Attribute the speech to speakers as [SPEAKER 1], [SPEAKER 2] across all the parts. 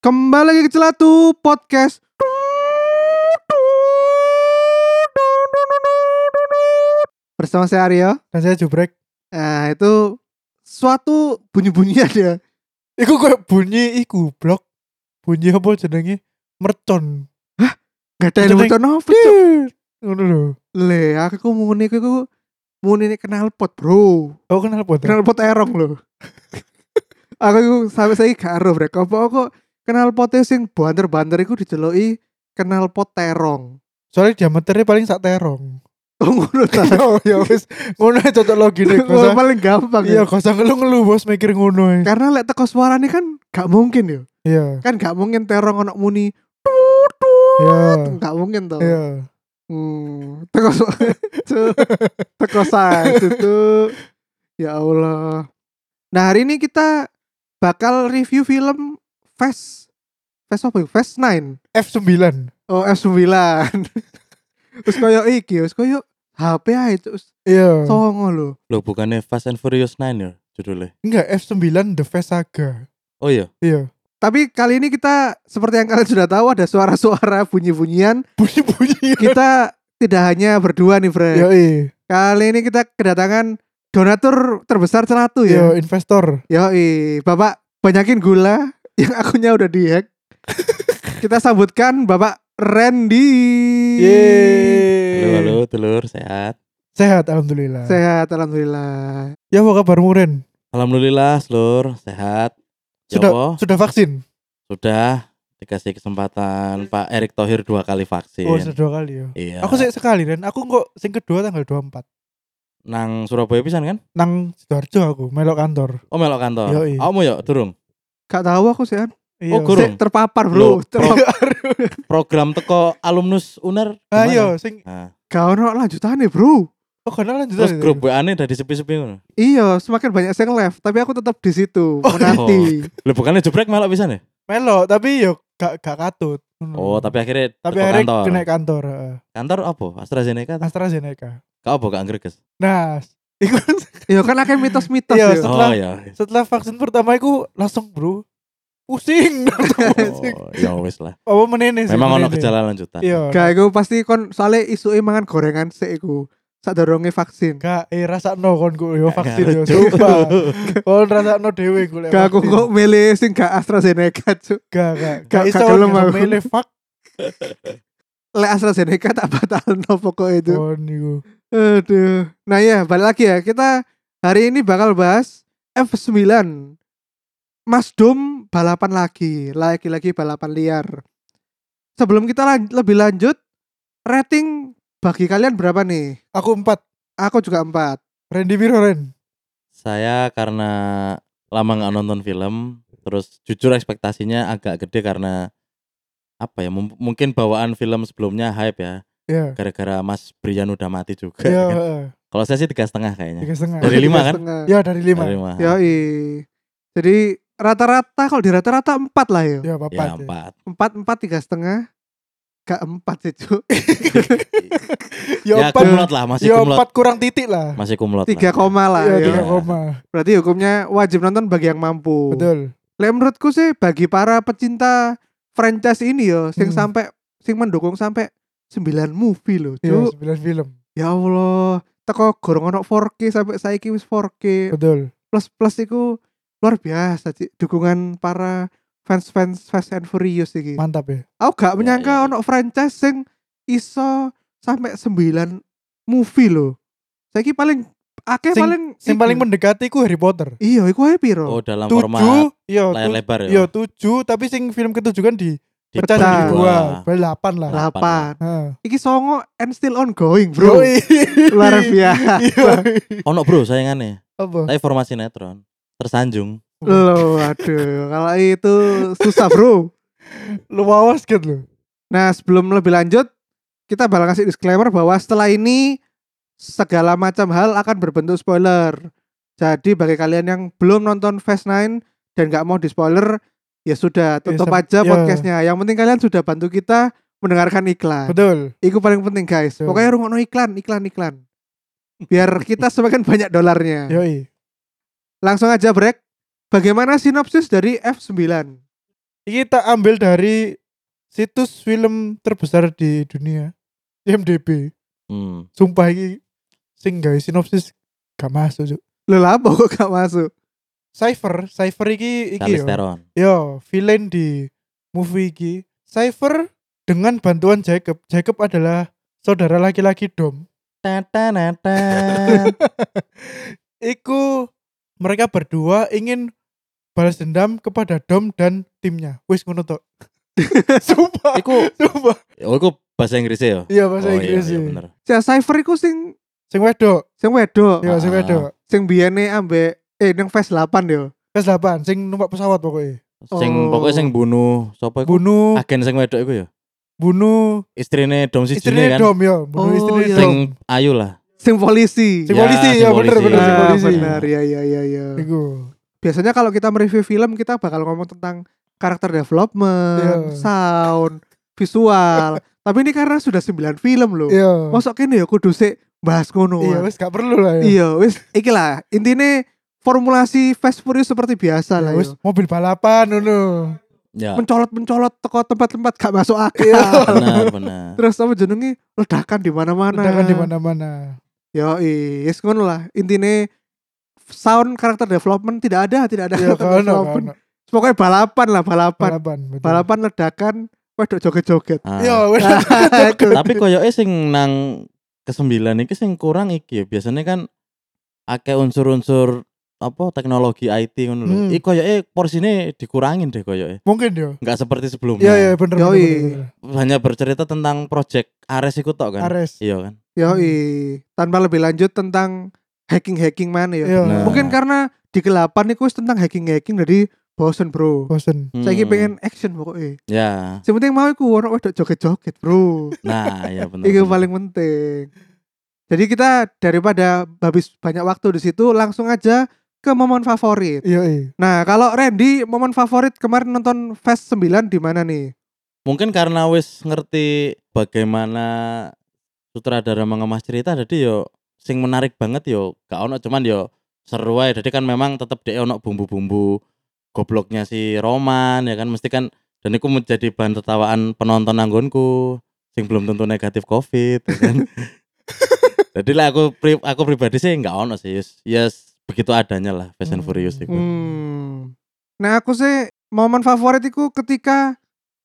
[SPEAKER 1] Kembali lagi ke Celatu Podcast. Bersama saya Aryo.
[SPEAKER 2] Dan saya jubrek.
[SPEAKER 1] Nah, itu suatu ya. bunyi-bunyi ada.
[SPEAKER 2] Iku kayak bunyi iku blok. Bunyi apa jenenge? Mercon.
[SPEAKER 1] Gak ada yang
[SPEAKER 2] Jeneng.
[SPEAKER 1] bocor novel. Cuk.
[SPEAKER 2] Tit. Ngono lho.
[SPEAKER 1] Le, aku ku muni ku ku muni kenal pot, Bro.
[SPEAKER 2] Aku kenal pot.
[SPEAKER 1] Kenal pot erong lho. aku ku sampe saiki gak ero, Brek. Apa kok kenal potnya sing banter-banter iku diceloki kenal pot terong.
[SPEAKER 2] Soalnya diameternya paling sak terong.
[SPEAKER 1] Oh, ngono ta.
[SPEAKER 2] Oh ya wis. Ngono ae cocok logine. Gak
[SPEAKER 1] Ngono
[SPEAKER 2] usah-
[SPEAKER 1] paling gampang. ya.
[SPEAKER 2] Iya, gak usah ngeluh-ngeluh bos mikir ngono ae.
[SPEAKER 1] karena lek teko suarane kan gak mungkin yo
[SPEAKER 2] Iya.
[SPEAKER 1] kan gak mungkin terong ono muni
[SPEAKER 2] Iya.
[SPEAKER 1] gak mungkin toh
[SPEAKER 2] Iya.
[SPEAKER 1] hmm, teko suara teko sa- itu ya Allah nah hari ini kita bakal review film Fast Fast apa ya? Fast 9
[SPEAKER 2] F9.
[SPEAKER 1] oh F9 terus koyo iki terus koyo HP ae terus
[SPEAKER 2] Iya.
[SPEAKER 1] songo lho
[SPEAKER 3] Loh bukannya Fast and Furious 9 ya judulnya
[SPEAKER 2] Enggak F9 The Fast Saga.
[SPEAKER 3] Oh iya
[SPEAKER 2] Iya.
[SPEAKER 1] tapi kali ini kita seperti yang kalian sudah tahu ada suara-suara bunyi-bunyian
[SPEAKER 2] Bunyi-bunyi.
[SPEAKER 1] kita tidak hanya berdua nih Fred
[SPEAKER 2] Yo, iya.
[SPEAKER 1] Kali ini kita kedatangan donatur terbesar celatu ya.
[SPEAKER 2] Yo, investor.
[SPEAKER 1] Yoi, Bapak banyakin gula yang akunnya udah dihack. Kita sambutkan Bapak Randy.
[SPEAKER 3] Halo halo
[SPEAKER 2] Yeay.
[SPEAKER 3] telur sehat
[SPEAKER 2] Sehat alhamdulillah.
[SPEAKER 1] Sehat alhamdulillah.
[SPEAKER 2] Ya apa kabarmu Ren?
[SPEAKER 3] Alhamdulillah telur sehat Ya
[SPEAKER 2] Sudah-
[SPEAKER 3] apa?
[SPEAKER 2] Sudah vaksin?
[SPEAKER 3] Sudah dikasih kesempatan Pak Erick Thohir dua kali vaksin
[SPEAKER 2] Oh, sudah dua kali ya.
[SPEAKER 3] Iya
[SPEAKER 2] Aku sih sekali dan aku kok sing kedua tanggal 24
[SPEAKER 3] Nang Surabaya pisan kan?
[SPEAKER 2] nang Sidoarjo aku melok kantor.
[SPEAKER 3] Oh melok kantor
[SPEAKER 2] Yoi.
[SPEAKER 3] Kamu yuk durung
[SPEAKER 1] Gak tahu aku sih. An.
[SPEAKER 2] Iya.
[SPEAKER 3] Oh, guru.
[SPEAKER 1] Sik,
[SPEAKER 3] Durung.
[SPEAKER 1] terpapar bro.
[SPEAKER 3] Loh,
[SPEAKER 1] Terpapar.
[SPEAKER 3] Program teko alumnus UNER
[SPEAKER 2] Ayo
[SPEAKER 3] gimana?
[SPEAKER 2] Ah, iya, sing
[SPEAKER 3] Nah,
[SPEAKER 1] Gak ono lanjutannya bro.
[SPEAKER 2] oh kenal lanjut
[SPEAKER 3] Terus
[SPEAKER 2] aja.
[SPEAKER 3] grup WA nya dari sepi-sepi ngono.
[SPEAKER 1] Iya, semakin banyak yang left, tapi aku tetap di situ
[SPEAKER 2] Oh,
[SPEAKER 1] menanti.
[SPEAKER 3] Loh bukannya jebrek melok pisan ya?
[SPEAKER 2] melok tapi yo gak gak katut. Hmm.
[SPEAKER 3] Oh tapi akhirnya
[SPEAKER 2] tapi
[SPEAKER 3] teko
[SPEAKER 2] akhirnya
[SPEAKER 3] kantor
[SPEAKER 2] kena kantor heeh.
[SPEAKER 3] Kantor apa? AstraZeneca?
[SPEAKER 2] AstraZeneca.
[SPEAKER 3] Kau apa gak ngreges?
[SPEAKER 2] Nah, s- iku
[SPEAKER 1] Iya kan akhirnya mitos-mitos
[SPEAKER 2] Iya,
[SPEAKER 1] yo.
[SPEAKER 2] so-
[SPEAKER 3] Oh
[SPEAKER 2] Setelah-
[SPEAKER 3] ya
[SPEAKER 2] setelah vaksin pertama iku langsung bro pusing pusing.
[SPEAKER 3] Oh, ya wis lah
[SPEAKER 2] apa menene sih
[SPEAKER 3] Memang ono
[SPEAKER 2] menene.
[SPEAKER 3] gejala lanjutan.
[SPEAKER 2] iya
[SPEAKER 1] Gak, aku pasti kon soalnya isu mangan gorengan sih aku. Saat dorongnya vaksin.
[SPEAKER 2] gak eh rasa no kon ku yo vaksin yo
[SPEAKER 3] Lucu.
[SPEAKER 2] coba kon rasa no dewe ku lek
[SPEAKER 1] Gak aku
[SPEAKER 2] vaksin.
[SPEAKER 1] kok milih sing gak AstraZeneca cuk.
[SPEAKER 2] gak gak
[SPEAKER 1] Gak-
[SPEAKER 2] gak
[SPEAKER 1] gak
[SPEAKER 2] iso
[SPEAKER 1] gelem aku.
[SPEAKER 2] milih fuck
[SPEAKER 1] Lek AstraZeneca tak batalno pokoknya itu.
[SPEAKER 3] Oh.
[SPEAKER 2] kon iku
[SPEAKER 1] Aduh. Nah ya balik lagi ya kita hari ini bakal bahas F9 Mas Dom balapan lagi, lagi-lagi balapan liar. Sebelum kita lan- lebih lanjut, rating bagi kalian berapa nih?
[SPEAKER 2] aku empat
[SPEAKER 1] Aku juga 4.
[SPEAKER 2] Randy Piro Ren
[SPEAKER 3] Saya karena lama nggak nonton film, terus jujur ekspektasinya agak gede karena apa ya? mum- mungkin bawaan film sebelumnya hype ya,
[SPEAKER 2] ya
[SPEAKER 3] gara-gara Mas Brian udah mati juga.
[SPEAKER 2] ya
[SPEAKER 3] kan.
[SPEAKER 2] heeh.
[SPEAKER 3] Kalau saya sih tiga setengah kayaknya.
[SPEAKER 2] tiga setengah
[SPEAKER 3] Dari lima kan?
[SPEAKER 2] ya dari lima
[SPEAKER 3] Dari lima.
[SPEAKER 1] Ya, Jadi rata-rata kalau di rata-rata 4 lah ya.
[SPEAKER 2] ya apa
[SPEAKER 3] Ya, empat.
[SPEAKER 1] empat empat tiga setengah gak empat sih Cuk.
[SPEAKER 2] ya
[SPEAKER 3] Ya
[SPEAKER 2] empat
[SPEAKER 3] kumlot lah, masih
[SPEAKER 2] ya
[SPEAKER 3] kumlot,
[SPEAKER 2] empat kurang titik lah
[SPEAKER 3] masih kumlot. lah.
[SPEAKER 1] tiga koma lah
[SPEAKER 2] ya
[SPEAKER 1] ya.
[SPEAKER 2] tiga koma
[SPEAKER 1] berarti hukumnya wajib nonton bagi yang mampu
[SPEAKER 2] betul
[SPEAKER 1] Lah, menurutku sih bagi para pecinta franchise ini yo sing
[SPEAKER 2] Hmm.
[SPEAKER 1] sampai sing mendukung sampai 9 movie loh
[SPEAKER 2] ya
[SPEAKER 1] Cuk.
[SPEAKER 2] sembilan film
[SPEAKER 1] ya Allah teko gorong ono 4K sampai saiki wis 4K
[SPEAKER 2] betul
[SPEAKER 1] plus plus iku luar biasa Cik. dukungan para fans fans Fast and Furious iki
[SPEAKER 2] mantap ya
[SPEAKER 1] aku gak
[SPEAKER 3] Ya,
[SPEAKER 1] menyangka
[SPEAKER 3] ya.
[SPEAKER 1] ono franchise sing iso sampai 9 movie loh. Saiki paling akeh
[SPEAKER 2] Sing-
[SPEAKER 1] paling
[SPEAKER 2] yang
[SPEAKER 1] iki.
[SPEAKER 2] paling mendekati ku Harry Potter
[SPEAKER 1] Iya, iku ae
[SPEAKER 3] Oh,
[SPEAKER 1] piro?
[SPEAKER 3] dalam format
[SPEAKER 2] tujuh ya
[SPEAKER 3] layar lebar
[SPEAKER 2] ya
[SPEAKER 3] ya.
[SPEAKER 2] tujuh tapi sing film ketujuh kan di
[SPEAKER 3] Dipecah
[SPEAKER 2] pecah jadi
[SPEAKER 1] dua.
[SPEAKER 2] dua berdelapan lah
[SPEAKER 3] Lah.
[SPEAKER 1] 8.
[SPEAKER 2] Heeh.
[SPEAKER 1] Iki songo and still ongoing, Bro.
[SPEAKER 2] ya. Yoi. Iya.
[SPEAKER 1] Luar biasa.
[SPEAKER 2] Yoi.
[SPEAKER 3] Ono bro, sayangannya.
[SPEAKER 2] apa
[SPEAKER 3] Tapi formasi netron. Tersanjung.
[SPEAKER 1] Loh, aduh, kalau itu susah, Bro.
[SPEAKER 2] lu wawas kan lu
[SPEAKER 1] Nah, sebelum lebih lanjut, kita bakal kasih disclaimer bahwa setelah ini segala macam hal akan berbentuk spoiler. Jadi bagi kalian yang belum nonton Fast 9 dan nggak mau di spoiler, ya sudah tutup
[SPEAKER 2] sam-
[SPEAKER 1] aja
[SPEAKER 2] ya.
[SPEAKER 1] podcastnya. Yang penting kalian sudah bantu kita mendengarkan iklan.
[SPEAKER 2] betul
[SPEAKER 1] Itu paling penting guys.
[SPEAKER 2] Betul.
[SPEAKER 1] Pokoknya rungokno iklan, iklan, iklan. Biar kita semakin banyak dolarnya.
[SPEAKER 2] yoi
[SPEAKER 1] Langsung aja break. Bagaimana sinopsis dari F9?
[SPEAKER 2] Ini tak ambil dari situs film terbesar di dunia, IMDb.
[SPEAKER 3] Hmm.
[SPEAKER 2] Sumpah ini sing gawe sinopsis gak masuk, Cuk.
[SPEAKER 1] Lho lah apa kok gak masuk?
[SPEAKER 2] Cypher, Cypher iki iki
[SPEAKER 3] Charlize
[SPEAKER 2] yo.
[SPEAKER 3] Theron.
[SPEAKER 2] Yo, villain di movie iki. Cypher dengan bantuan Jacob. Jacob adalah saudara laki-laki Dom.
[SPEAKER 3] Ta-ta-na-ta.
[SPEAKER 2] Iku mereka berdua ingin balas dendam kepada Dom dan timnya. Wis ngono tok. Sumpah.
[SPEAKER 3] Iku-
[SPEAKER 2] sumpah.
[SPEAKER 3] Oh, itu bahasa Inggrisnya ya?
[SPEAKER 2] Iya bahasa
[SPEAKER 3] oh,
[SPEAKER 2] Inggris.
[SPEAKER 3] Iya, iya,
[SPEAKER 2] sih.
[SPEAKER 3] bener.
[SPEAKER 1] Si Cypher iku sing
[SPEAKER 2] Sing wedok,
[SPEAKER 1] sing wedok,
[SPEAKER 2] ya sing
[SPEAKER 3] Ah.
[SPEAKER 2] wedok.
[SPEAKER 1] sing biyene ambek eh nang Fast 8 yo.
[SPEAKER 2] Kes 8 sing numpak pesawat pokoknya.
[SPEAKER 3] Sing
[SPEAKER 1] Oh.
[SPEAKER 3] pokoknya sing bunuh sapa iku?
[SPEAKER 2] Bunuh,
[SPEAKER 3] Agen sing wedok iku ya.
[SPEAKER 2] bunuh
[SPEAKER 3] Istrine Dom si
[SPEAKER 2] istrinya
[SPEAKER 3] kan.
[SPEAKER 2] Dom ya, bunuh
[SPEAKER 1] Oh,
[SPEAKER 2] istrinya
[SPEAKER 1] iya.
[SPEAKER 2] Dom.
[SPEAKER 3] Sing ayu lah.
[SPEAKER 1] Sing polisi.
[SPEAKER 2] Sing
[SPEAKER 3] Ya,
[SPEAKER 2] polisi
[SPEAKER 3] sing
[SPEAKER 2] ya bener
[SPEAKER 3] polisi.
[SPEAKER 2] bener sing
[SPEAKER 1] Ah,
[SPEAKER 2] polisi.
[SPEAKER 1] benar. Ya ya ya ya.
[SPEAKER 2] Iku.
[SPEAKER 1] Biasanya kalau kita mereview film kita bakal ngomong tentang karakter development,
[SPEAKER 2] Iya.
[SPEAKER 1] sound, visual. Tapi ini karena sudah 9 film loh.
[SPEAKER 2] Iya.
[SPEAKER 1] Mosok kene ya kudu sik bahas ngono.
[SPEAKER 2] Iya,
[SPEAKER 1] ah.
[SPEAKER 2] wis gak perlu lah ya.
[SPEAKER 1] Iya, wis iki lah. Intine formulasi Fast Furious seperti biasa lah. Wis
[SPEAKER 2] Wis Iya, mobil balapan ngono.
[SPEAKER 3] Ya.
[SPEAKER 1] mencolot-mencolot teko tempat-tempat gak masuk
[SPEAKER 2] Iya,
[SPEAKER 1] akal.
[SPEAKER 3] Benar, benar.
[SPEAKER 1] Terus apa jenenge ledakan di mana-mana.
[SPEAKER 2] Ledakan di mana-mana.
[SPEAKER 1] Yo, wis ngono lah. Intine sound karakter development tidak ada, tidak ada
[SPEAKER 2] Iya,
[SPEAKER 1] karakter
[SPEAKER 2] kan
[SPEAKER 1] development. Pokoknya balapan lah, balapan.
[SPEAKER 2] balapan. betul.
[SPEAKER 1] Balapan ledakan wedok joget-joget.
[SPEAKER 3] Ah.
[SPEAKER 2] Iya, wis.
[SPEAKER 1] Aduh.
[SPEAKER 3] Tapi koyoke sing nang kesembilan iki sing kurang iki ya. Biasanya kan akeh unsur-unsur apa teknologi IT ngono lho.
[SPEAKER 2] Hmm.
[SPEAKER 3] Iki koyoke porsine dikurangin deh koyoke.
[SPEAKER 2] Mungkin yo.
[SPEAKER 3] Enggak seperti sebelumnya.
[SPEAKER 2] Iya, iya bener.
[SPEAKER 1] Yoi.
[SPEAKER 2] bener, bener,
[SPEAKER 3] Hanya bercerita tentang project Ares iku tok
[SPEAKER 2] bener.
[SPEAKER 3] kan.
[SPEAKER 2] Ares.
[SPEAKER 3] Iya kan.
[SPEAKER 1] Yo, tanpa lebih lanjut tentang hacking-hacking mana ya.
[SPEAKER 2] Iya.
[SPEAKER 3] Nah.
[SPEAKER 1] Mungkin karena di kelapan iku wis tentang hacking-hacking dari bosen, Bro.
[SPEAKER 2] Bosen.
[SPEAKER 3] Hmm.
[SPEAKER 1] Saya pengen action pokoknya.
[SPEAKER 3] Ya.
[SPEAKER 1] Yang penting mau iku ono wedok joget-joget, Bro.
[SPEAKER 3] Nah, ya benar.
[SPEAKER 1] Itu
[SPEAKER 3] benar.
[SPEAKER 1] paling penting. Jadi kita daripada habis banyak waktu di situ langsung aja ke momen favorit.
[SPEAKER 2] Iya, iya.
[SPEAKER 1] Nah, kalau Randy momen favorit kemarin nonton Fast 9 di mana nih?
[SPEAKER 3] mungkin karena wis ngerti bagaimana sutradara mengemas cerita jadi yo sing menarik banget yo gak ono cuman yo seru ae jadi kan memang tetep dia ono bumbu-bumbu gobloknya si Roman ya kan mesti kan dan itu menjadi bahan tertawaan penonton anggonku sing belum tentu negatif covid ya kan jadi lah aku pri- aku pribadi sih nggak ono sih yes, yes begitu adanya lah Fast and
[SPEAKER 2] Hmm.
[SPEAKER 3] Furious itu
[SPEAKER 1] Hmm. Nah, aku sih momen favorit iku ketika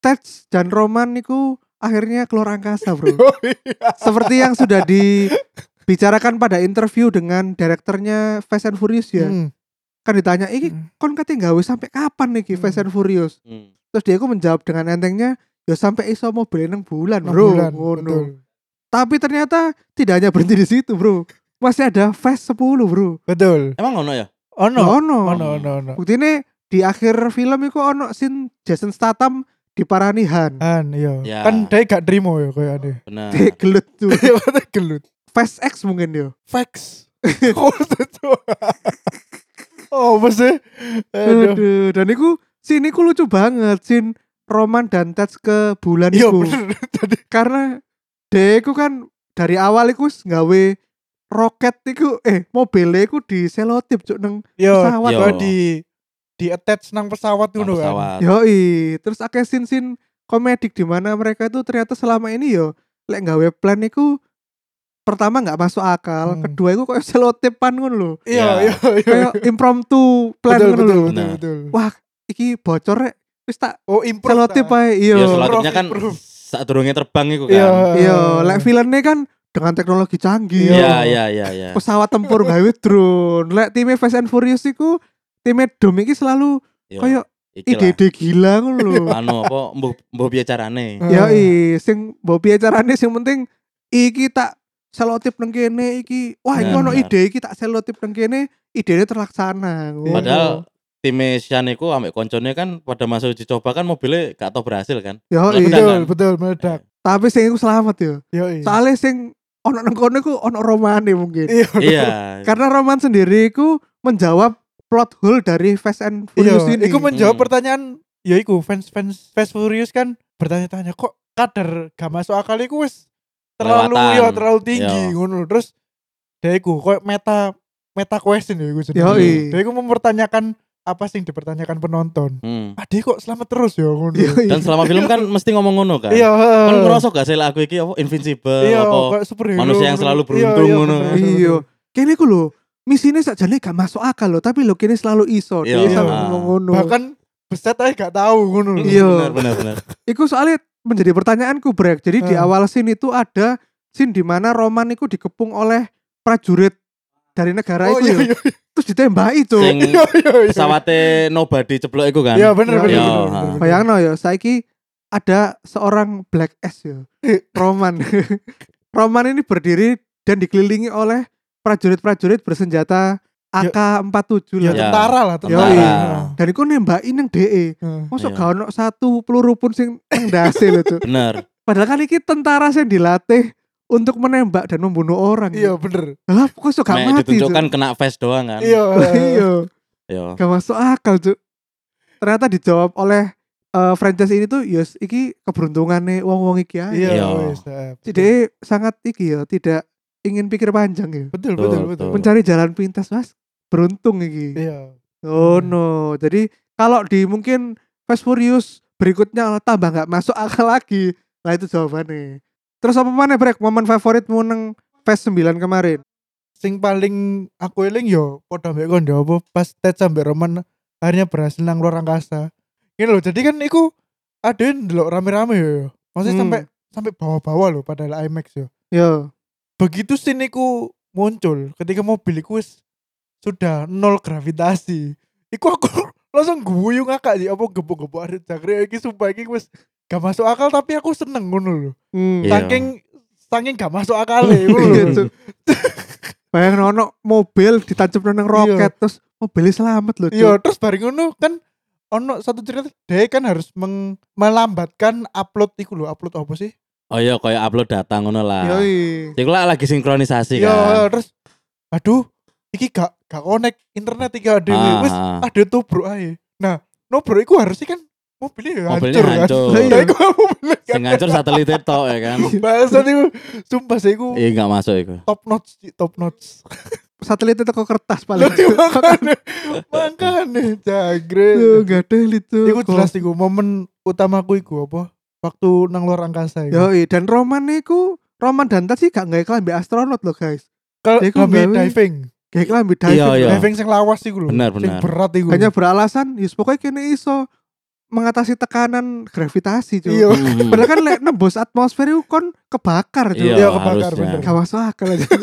[SPEAKER 1] Ted dan Roman niku akhirnya keluar angkasa, Bro.
[SPEAKER 3] Oh, iya.
[SPEAKER 1] Seperti yang sudah dibicarakan pada interview dengan direkturnya Fast and Furious ya.
[SPEAKER 2] Hmm.
[SPEAKER 1] Kan ditanya, "Iki kon kate gawe sampai kapan nih Fast and Furious?"
[SPEAKER 3] Hmm.
[SPEAKER 1] Terus dia ku menjawab dengan entengnya, ya sampai iso mobil nang bulan,
[SPEAKER 2] Enam
[SPEAKER 1] bro.
[SPEAKER 2] bulan,
[SPEAKER 1] Ngono.
[SPEAKER 2] betul.
[SPEAKER 1] Tapi ternyata tidak hanya berhenti di situ, bro. Masih ada Fast 10, bro.
[SPEAKER 2] Betul.
[SPEAKER 3] emang ono ya
[SPEAKER 2] Ono.
[SPEAKER 1] Ya Ono.
[SPEAKER 2] Ono, ono, ono.
[SPEAKER 1] Buktinya di akhir film itu ono scene Jason Statham di paranihan.
[SPEAKER 2] An, iya.
[SPEAKER 3] Ya.
[SPEAKER 2] Kan dia gak terima ya kayak ade.
[SPEAKER 3] benar
[SPEAKER 1] Gelut tuh.
[SPEAKER 2] Iya, kata gelut.
[SPEAKER 1] Fast X mungkin yo.
[SPEAKER 2] Fax. Oh, mesti. Aduh.
[SPEAKER 1] Aduh, dan itu scene iku lucu banget, scene Roman dan Ted ke bulan
[SPEAKER 2] Iya,
[SPEAKER 1] itu.
[SPEAKER 2] bener. Tadi
[SPEAKER 1] Karena dia iku kan dari awal iku wis nggawe roket iku eh mobilnya iku di selotip cuk neng
[SPEAKER 2] Yo,
[SPEAKER 1] Pesawat.
[SPEAKER 2] yo,
[SPEAKER 3] Yo.
[SPEAKER 2] di di attach nang pesawat
[SPEAKER 3] Nang
[SPEAKER 2] ngono kan.
[SPEAKER 3] pesawat.
[SPEAKER 1] Yoi, terus akeh sin-sin komedik di mana mereka itu ternyata selama ini yo lek nggawe plan iku pertama nggak masuk akal,
[SPEAKER 2] Hmm.
[SPEAKER 1] kedua iku koyo selotepan ngono lho.
[SPEAKER 2] Iya,
[SPEAKER 3] Ya.
[SPEAKER 2] iya, iya.
[SPEAKER 1] Kayak impromptu plan
[SPEAKER 2] Betul,
[SPEAKER 1] ngono
[SPEAKER 2] betul,
[SPEAKER 1] lho.
[SPEAKER 2] betul,
[SPEAKER 3] Nah.
[SPEAKER 2] betul.
[SPEAKER 1] Wah, iki bocor rek wis tak
[SPEAKER 2] Oh, improv.
[SPEAKER 1] selotip
[SPEAKER 2] ta.
[SPEAKER 1] ae.
[SPEAKER 3] ya
[SPEAKER 1] Iya.
[SPEAKER 3] selotipnya kan
[SPEAKER 2] Proof, proof.
[SPEAKER 3] saat turunnya terbang itu kan
[SPEAKER 2] Iya.
[SPEAKER 1] Iya, lek villainnya kan dengan teknologi canggih.
[SPEAKER 2] Iya.
[SPEAKER 3] Iya, iya, iya, iya.
[SPEAKER 2] Eh.
[SPEAKER 1] Pesawat tempur gawe drone. Lek time Fast and Furious iku time Dom iki selalu
[SPEAKER 3] Yo,
[SPEAKER 1] koyo
[SPEAKER 3] iki lah.
[SPEAKER 1] ide-ide gila ngono lho.
[SPEAKER 2] Ah.
[SPEAKER 3] Anu apa mbuh mbuh piye carane?
[SPEAKER 2] Hmm.
[SPEAKER 1] Ya i, sing mbok piye carane sing penting iki tak selotip nang kene iki. Wah, iki ono
[SPEAKER 3] Benar.
[SPEAKER 1] ide iki tak selotip nang kene, idenya terlaksana. ngono.
[SPEAKER 3] Padahal time Sean iku ambek koncone kan pada masa uji coba kan mobilnya gak tau berhasil kan.
[SPEAKER 1] ya i,
[SPEAKER 3] Meledak.
[SPEAKER 2] Betul, betul, meledak.
[SPEAKER 1] tapi sing iku selamat yo.
[SPEAKER 2] Yo, iya.
[SPEAKER 1] Soale sing ono nang kono iku ono romane mungkin.
[SPEAKER 2] Iya.
[SPEAKER 3] iya.
[SPEAKER 1] Karena roman sendiri iku menjawab plot hole dari Fast and
[SPEAKER 2] Iya,
[SPEAKER 1] Furious ini.
[SPEAKER 2] iku menjawab
[SPEAKER 3] Hmm.
[SPEAKER 2] pertanyaan ya iku fans-fans Fast Furious kan bertanya-tanya kok kadar gak masuk akal iku wis terlalu
[SPEAKER 3] Kelewatan.
[SPEAKER 2] ya terlalu tinggi
[SPEAKER 3] Iya.
[SPEAKER 2] ngono lho. Terus dia iku koyo meta meta question ya iku
[SPEAKER 1] Yoi.
[SPEAKER 2] Dia iku mempertanyakan apa sih yang dipertanyakan penonton
[SPEAKER 3] Hmm.
[SPEAKER 2] Ade kok selamat terus ya ngono.
[SPEAKER 1] Iya, iya.
[SPEAKER 3] Dan selama film kan mesti ngomong ngono kan.
[SPEAKER 2] Iya.
[SPEAKER 3] Kan ngerasa gak sih lah aku iki apa invincible
[SPEAKER 2] Iya,
[SPEAKER 3] apa
[SPEAKER 2] kayak superhero.
[SPEAKER 3] manusia yang selalu
[SPEAKER 2] Iya,
[SPEAKER 3] beruntung
[SPEAKER 2] iya,
[SPEAKER 3] ngono.
[SPEAKER 2] bener.
[SPEAKER 1] Iya. Kene ku lho, misine sakjane gak masuk akal lho, tapi lho kene selalu iso.
[SPEAKER 3] Iya.
[SPEAKER 1] Dia sampe
[SPEAKER 3] Iya.
[SPEAKER 1] ngomong ngono.
[SPEAKER 2] Bahkan beset aja gak tahu ngono.
[SPEAKER 1] Hmm. Iya.
[SPEAKER 3] Benar benar benar.
[SPEAKER 1] Iku soalnya menjadi pertanyaanku Brek. Jadi di
[SPEAKER 2] Ah.
[SPEAKER 1] awal scene itu ada scene di mana Roman itu dikepung oleh prajurit dari negara
[SPEAKER 2] Oh
[SPEAKER 1] itu ya.
[SPEAKER 2] iya iya.
[SPEAKER 1] Terus ditembak itu.
[SPEAKER 3] Sing
[SPEAKER 2] Iya iya. iya.
[SPEAKER 3] pesawate nobody ceplok iku kan.
[SPEAKER 2] Iya bener
[SPEAKER 1] Iya,
[SPEAKER 2] bener.
[SPEAKER 1] iya.
[SPEAKER 2] bener, bener, bener.
[SPEAKER 1] Bayangno ya, saiki ada seorang black S ya. Roman. Roman ini berdiri dan dikelilingi oleh prajurit-prajurit bersenjata AK-47 lah.
[SPEAKER 2] Ya
[SPEAKER 3] Iya.
[SPEAKER 2] tentara lah
[SPEAKER 1] Iya,
[SPEAKER 2] tentara.
[SPEAKER 1] iya.
[SPEAKER 2] Iya.
[SPEAKER 1] Dan iku nembakin E. yang DE. Masa
[SPEAKER 3] Iya.
[SPEAKER 1] gak ono satu peluru pun sing nang dasi lho, Cuk.
[SPEAKER 3] Bener.
[SPEAKER 1] Padahal kan iki tentara sing dilatih untuk menembak dan membunuh orang.
[SPEAKER 2] Iya bener.
[SPEAKER 1] Lah kok iso gak
[SPEAKER 3] Mek
[SPEAKER 1] mati. Cuk?
[SPEAKER 3] ditunjukkan kena face doang kan.
[SPEAKER 2] Iya.
[SPEAKER 1] Iya.
[SPEAKER 3] Iya.
[SPEAKER 1] Gak masuk akal, Cuk. Ternyata dijawab oleh eh, franchise ini tuh yes iki keberuntungane wong-wong iki aja.
[SPEAKER 2] Iya.
[SPEAKER 3] Iya.
[SPEAKER 2] wes, eh,
[SPEAKER 1] Jadi sangat iki ya, tidak ingin pikir panjang ya.
[SPEAKER 2] Betul betul
[SPEAKER 3] Betul,
[SPEAKER 2] betul.
[SPEAKER 3] betul.
[SPEAKER 1] Mencari jalan pintas, Mas. Beruntung iki.
[SPEAKER 2] Iya.
[SPEAKER 1] Oh
[SPEAKER 2] Hmm.
[SPEAKER 1] no. Jadi kalau di mungkin Fast Furious berikutnya tambah nggak masuk akal lagi. Nah itu jawabannya. Terus apa mana Brek? Momen favoritmu neng Fast 9 kemarin?
[SPEAKER 2] Sing paling aku eling yo padha mbek kon ya apa pas Ted sampe Roman akhirnya berhasil nang luar angkasa. Ini loh, jadi kan iku ada ndelok rame-rame yo. Maksudnya
[SPEAKER 1] Hmm.
[SPEAKER 2] sampai sampai bawah-bawah loh padahal IMAX yo.
[SPEAKER 1] Yo.
[SPEAKER 2] begitu siniku muncul ketika mobiliku wis sudah nol gravitasi iku aku langsung guyu ngakak sih apa gebuk-gebuk ada jangkrik iki sumpah iki wis gak masuk akal tapi aku seneng ngono lho
[SPEAKER 1] Hmm.
[SPEAKER 3] Iya.
[SPEAKER 2] saking saking gak masuk akal ya ngono lho.
[SPEAKER 1] Gitu. Bayangin ono mobil ditancap neng roket terus mobilnya selamat loh. Cuk.
[SPEAKER 2] iya terus bareng ngono kan ono satu cerita dia kan harus meng- melambatkan upload iku lho upload apa sih
[SPEAKER 3] Oh iya kayak upload data ngono
[SPEAKER 1] Iya,
[SPEAKER 3] lah.
[SPEAKER 1] Yoi.
[SPEAKER 3] Iku lah lagi sinkronisasi
[SPEAKER 2] iya
[SPEAKER 3] kan.
[SPEAKER 2] terus aduh iki gak gak connect internet iki ada
[SPEAKER 3] Ah,
[SPEAKER 2] wis
[SPEAKER 3] ah.
[SPEAKER 2] ada tubruk ae. Nah, nobro iku harusnya kan mobilnya ya
[SPEAKER 3] Mobilnya
[SPEAKER 2] hancur,
[SPEAKER 3] hancur.
[SPEAKER 2] kan. Lah iku mobilnya kan.
[SPEAKER 3] Sing ngancur satelit itu ya kan.
[SPEAKER 2] Bahasa iku sumpah sih iku
[SPEAKER 3] Iya enggak masuk iku.
[SPEAKER 2] top notch, Ci, top notch.
[SPEAKER 1] Satelit itu kok kertas paling.
[SPEAKER 2] Lah iya, makane makane jagre.
[SPEAKER 1] Gak ada itu.
[SPEAKER 2] Iku jelas iku momen utamaku iku apa? Waktu nang luar angkasa iku.
[SPEAKER 1] Yoi. Dan Roman niku Roman dan Tad sih gak nggak kelambi astronot loh guys.
[SPEAKER 2] Kalau
[SPEAKER 1] iku
[SPEAKER 2] kami
[SPEAKER 1] gawe-
[SPEAKER 2] diving,
[SPEAKER 1] Kayak kelambi diving.
[SPEAKER 3] Iya, iya.
[SPEAKER 2] diving sing lawas iku lho.
[SPEAKER 3] Benar,
[SPEAKER 2] Sing
[SPEAKER 3] benar.
[SPEAKER 2] berat iku.
[SPEAKER 1] hanya beralasan yus pokoknya kini iso mengatasi tekanan gravitasi cuy
[SPEAKER 2] Iya.
[SPEAKER 3] Hmm.
[SPEAKER 1] padahal kan lek nembus atmosfer itu kon kebakar cuy
[SPEAKER 2] Iya,
[SPEAKER 3] Iya,
[SPEAKER 2] kebakar,
[SPEAKER 3] harusnya.
[SPEAKER 2] bener.
[SPEAKER 1] gak masuk akal aja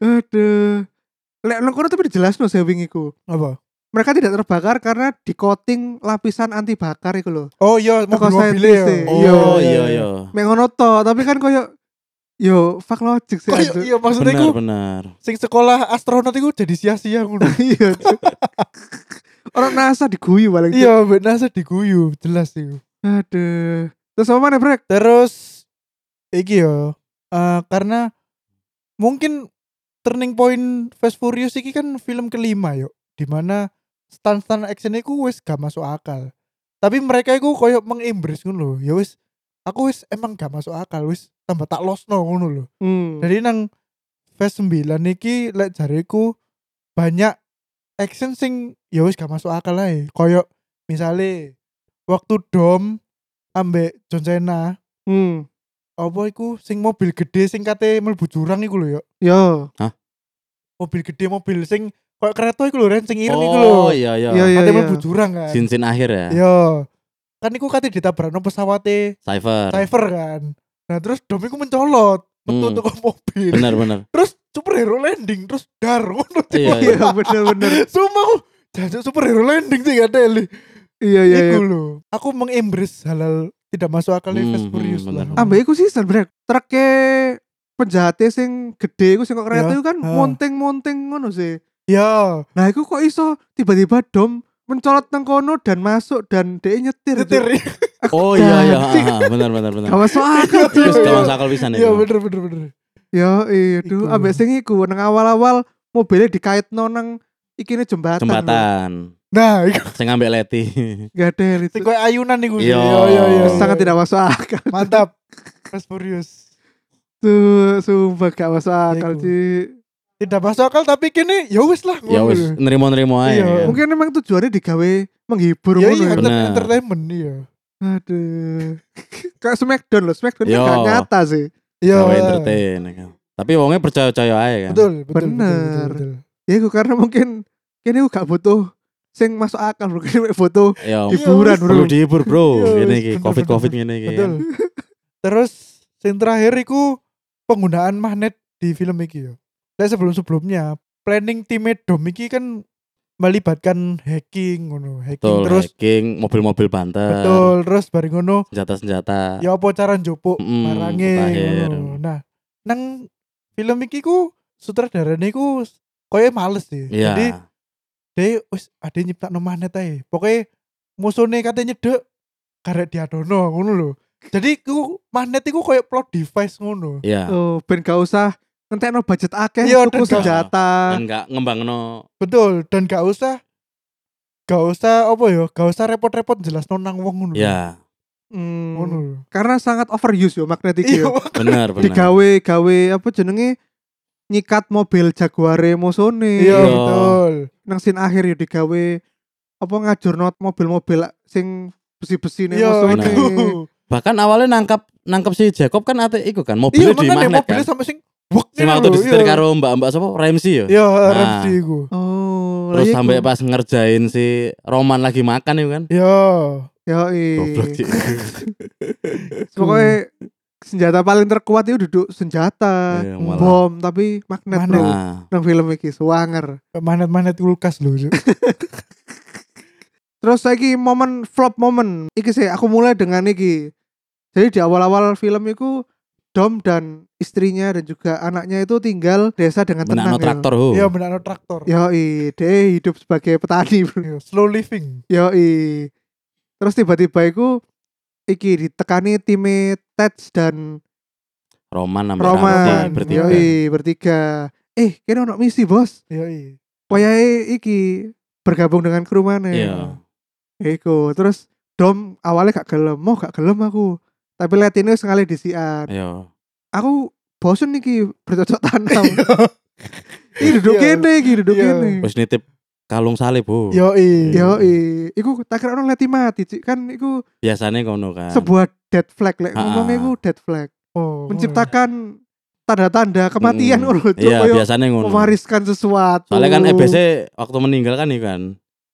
[SPEAKER 1] aduh lek nang kono tapi dijelas no sewing iku
[SPEAKER 2] apa?
[SPEAKER 1] mereka tidak terbakar karena di coating lapisan anti bakar iku loh
[SPEAKER 2] Oh iya,
[SPEAKER 1] Teko
[SPEAKER 2] mobil-mobil ya.
[SPEAKER 1] saintis, Ci.
[SPEAKER 3] Oh iya iya.
[SPEAKER 1] mengono to tapi kan koyo yo fuck logic sih
[SPEAKER 2] Kayak-
[SPEAKER 1] anjir.
[SPEAKER 2] Iya maksudnya
[SPEAKER 3] Benar
[SPEAKER 2] iku
[SPEAKER 3] benar.
[SPEAKER 2] sing sekolah astronot itu jadi sia-sia ngono.
[SPEAKER 1] iya cuy. orang NASA diguyu paling cuy.
[SPEAKER 2] iya, Mbak Nasa diguyu, jelas iku.
[SPEAKER 1] aduh terus apa nih brek
[SPEAKER 2] Terus iki yo eh, karena mungkin turning point Fast Furious iki kan film kelima yo, dimana stand-stand action iku wis gak masuk akal. Tapi mereka iku koyo mengimbris ngono lho. Ya wis aku wis emang gak masuk akal wis tambah tak losno ngono lho.
[SPEAKER 1] Hmm.
[SPEAKER 2] Jadi nang Fast 9 iki lek jariku banyak action sing ya wis gak masuk akal ae. Koyo misale waktu Dom ambek John Cena
[SPEAKER 1] hmm.
[SPEAKER 2] apa iku sing mobil gede sing kate mlebu jurang iku lho ya.
[SPEAKER 1] Yo,
[SPEAKER 2] Mobil gede mobil sing koyo kereta iku lho Ren sing ireng iku lho.
[SPEAKER 3] Oh iya iya.
[SPEAKER 1] yo, yo,
[SPEAKER 2] Kate
[SPEAKER 1] yo.
[SPEAKER 2] mlebu jurang kan.
[SPEAKER 3] Sin-sin akhir ya.
[SPEAKER 2] Yo. Kan iku kate ditabrakno pesawate
[SPEAKER 3] Cypher.
[SPEAKER 2] Cypher kan. Nah terus Dom iku mencolot metu
[SPEAKER 3] Hmm.
[SPEAKER 2] teko mobil.
[SPEAKER 3] Benar benar.
[SPEAKER 2] Terus superhero landing terus dar ngono
[SPEAKER 3] Iya iya.
[SPEAKER 1] Iya bener-bener.
[SPEAKER 2] Sumpah aku jancuk superhero landing sih gak teli.
[SPEAKER 1] Iya iya. iya.
[SPEAKER 2] Iku lho. Aku mengimbris halal tidak masuk akal
[SPEAKER 3] Hmm,
[SPEAKER 2] Fast
[SPEAKER 3] hmm,
[SPEAKER 2] Furious lah.
[SPEAKER 3] bener.
[SPEAKER 1] Ambek iku sih sebenarnya treke penjahate sing gede iku sing kok kereta
[SPEAKER 2] Ya,
[SPEAKER 1] iku kan
[SPEAKER 2] ha.
[SPEAKER 1] monting-monting ngono sih.
[SPEAKER 2] Ya,
[SPEAKER 1] Nah, iku kok iso tiba-tiba dom mencolot nang kono dan masuk dan dia nyetir.
[SPEAKER 2] nyetir.
[SPEAKER 3] Oh iya iya. Ah, Benar benar benar.
[SPEAKER 1] Gak masuk akal. Cuk.
[SPEAKER 3] Terus gak masuk akal pisan
[SPEAKER 2] Ya
[SPEAKER 3] itu.
[SPEAKER 2] bener bener bener.
[SPEAKER 1] Yo, iya
[SPEAKER 2] Iku.
[SPEAKER 1] duh, ambek sing iku nang awal-awal mobilnya dikaitno nang ikine jembatan.
[SPEAKER 3] Jembatan.
[SPEAKER 2] Nah, iku
[SPEAKER 3] Sing ambek Leti.
[SPEAKER 1] Gak ada itu.
[SPEAKER 2] sing koyo ayunan iku. sih. Ya,
[SPEAKER 3] Iya.
[SPEAKER 1] Sangat tidak masuk akal.
[SPEAKER 2] Mantap. Fast Furious.
[SPEAKER 1] Tuh, sumpah gak masuk akal
[SPEAKER 2] Iya, Iku. Iya.
[SPEAKER 1] sih.
[SPEAKER 2] tidak masuk akal tapi kini ya wis lah
[SPEAKER 3] ya wis nerimo-nerimo ae.
[SPEAKER 2] Iya,
[SPEAKER 3] kan.
[SPEAKER 1] Mungkin emang tujuannya digawe menghibur ngono
[SPEAKER 2] ya iya
[SPEAKER 1] ya.
[SPEAKER 2] enter-
[SPEAKER 3] Bener.
[SPEAKER 2] entertainment iya
[SPEAKER 1] Aduh. Kayak Smackdown loh, Smackdown kan
[SPEAKER 3] Yo.
[SPEAKER 1] gak nyata sih.
[SPEAKER 2] iya
[SPEAKER 3] Gawe entertain. ya kan. Tapi wongnya percaya-percaya ae kan.
[SPEAKER 2] betul betul, betul
[SPEAKER 1] Bener.
[SPEAKER 2] betul, betul.
[SPEAKER 1] Ya gue karena mungkin kene gue gak butuh sing masuk akal bro, kene mek butuh
[SPEAKER 3] Ya
[SPEAKER 2] Iya,
[SPEAKER 1] hiburan
[SPEAKER 2] wis.
[SPEAKER 1] bro.
[SPEAKER 3] perlu dihibur, Bro.
[SPEAKER 2] Iya, wis,
[SPEAKER 3] Ngene iki
[SPEAKER 2] bener,
[SPEAKER 3] Covid-Covid ngene iki.
[SPEAKER 2] betul terus yang terakhir iku penggunaan magnet di film iki ya Lah sebelum sebelumnya planning timnya Dom iki kan melibatkan hacking ngono hacking
[SPEAKER 3] Betul,
[SPEAKER 2] terus
[SPEAKER 3] hacking, mobil-mobil banter,
[SPEAKER 2] betul terus bareng ngono
[SPEAKER 3] senjata-senjata.
[SPEAKER 2] ya apa cara njupuk
[SPEAKER 3] Mm-mm,
[SPEAKER 2] barange
[SPEAKER 3] terakhir.
[SPEAKER 2] ngono. Nah, nang film iki ku sutradarane ku koyo males sih. Jadi
[SPEAKER 3] Iya.
[SPEAKER 2] de wis ade nyiptakno magnet ae. Pokoke musuhne kate nyedek karek diadono ngono lho. Jadi ku magnet iku koyo plot device ngono.
[SPEAKER 3] Iya.
[SPEAKER 1] Oh, ben gak usah ngentekno budget akeh
[SPEAKER 2] Iya,
[SPEAKER 1] tuku
[SPEAKER 2] dan-
[SPEAKER 1] senjata.
[SPEAKER 3] Dan enggak ngembangno
[SPEAKER 2] Betul dan gak usah gak usah apa ya, gak usah repot-repot jelasno nang wong ngono. lho.
[SPEAKER 3] ya
[SPEAKER 1] Hmm,
[SPEAKER 2] Ngono lho.
[SPEAKER 1] karena sangat overuse yo magnetik
[SPEAKER 2] Iya,
[SPEAKER 1] yo.
[SPEAKER 3] benar benar
[SPEAKER 1] Digawe gawe apa jenenge nyikat mobil Jaguare Mosone.
[SPEAKER 2] iya
[SPEAKER 3] Iya.
[SPEAKER 2] betul.
[SPEAKER 1] Nang scene akhir yo digawe apa ngajurno mobil-mobil sing besi-besi nih
[SPEAKER 2] Iya,
[SPEAKER 1] Mosone.
[SPEAKER 2] itu.
[SPEAKER 3] bahkan awalnya nangkap nangkap si Jacob kan ate iku kan
[SPEAKER 2] Iya,
[SPEAKER 3] mobilnya di
[SPEAKER 2] makanya
[SPEAKER 3] magnet kan
[SPEAKER 2] mobilnya sampai sing wek
[SPEAKER 3] sing
[SPEAKER 2] gitu
[SPEAKER 3] waktu
[SPEAKER 2] lho,
[SPEAKER 3] disetir
[SPEAKER 2] iya.
[SPEAKER 3] karo mbak-mbak sapa Ramsey ya
[SPEAKER 2] Iya,
[SPEAKER 3] Nah.
[SPEAKER 2] RFC iku.
[SPEAKER 1] Oh,
[SPEAKER 3] terus
[SPEAKER 1] lah
[SPEAKER 3] sampai
[SPEAKER 1] iku.
[SPEAKER 3] pas ngerjain si Roman lagi makan itu kan
[SPEAKER 2] Iya.
[SPEAKER 1] Yoi.
[SPEAKER 3] goblok sih
[SPEAKER 1] Pokoknya senjata paling terkuat itu duduk senjata,
[SPEAKER 3] Iya, malah.
[SPEAKER 1] bom, tapi magnet
[SPEAKER 2] Magnet.
[SPEAKER 1] bro.
[SPEAKER 3] nah
[SPEAKER 1] Nang film iki suwanger.
[SPEAKER 2] Magnet-magnet kulkas lho. Cuk.
[SPEAKER 1] Terus saiki momen flop momen. Iki sih aku mulai dengan iki. Jadi di awal-awal film itu Dom dan istrinya dan juga anaknya itu tinggal desa dengan
[SPEAKER 3] menakno
[SPEAKER 1] tenang.
[SPEAKER 3] traktor ho
[SPEAKER 2] Iya, benar traktor.
[SPEAKER 1] Yo, dia hidup sebagai petani. Bro.
[SPEAKER 2] Iya, slow living.
[SPEAKER 1] Yoi. Terus tiba-tiba itu iki ditekani time Ted dan
[SPEAKER 3] Roman sama
[SPEAKER 1] Roman.
[SPEAKER 3] Ramsey bertiga
[SPEAKER 1] Yoi, bertiga. Eh, kene ono misi, Bos.
[SPEAKER 2] Iya, iya.
[SPEAKER 1] Wayahe iki bergabung dengan kru mana?
[SPEAKER 3] iya
[SPEAKER 1] Iku. Terus Dom awalnya gak gelem, mau gak gelem aku. Tapi lihat ini sekali disian.
[SPEAKER 3] iya
[SPEAKER 1] Aku bosen iki bercocok tanam. Iki duduk kene, iki duduk
[SPEAKER 2] Iya.
[SPEAKER 1] kene.
[SPEAKER 3] wis nitip kalung salib ho
[SPEAKER 2] Yo
[SPEAKER 1] Yo,
[SPEAKER 2] iya.
[SPEAKER 1] iku tak kira orang leti mati, Cik. kan iku
[SPEAKER 3] biasanya kono kan
[SPEAKER 1] sebuah dead flag lek
[SPEAKER 3] Ah.
[SPEAKER 1] ngomongnya iku dead flag.
[SPEAKER 2] Oh.
[SPEAKER 1] Menciptakan tanda-tanda kematian
[SPEAKER 3] Mm.
[SPEAKER 1] urut
[SPEAKER 3] iya biasanya ngono
[SPEAKER 1] mewariskan sesuatu.
[SPEAKER 3] soalnya kan EBC waktu meninggal kan iku kan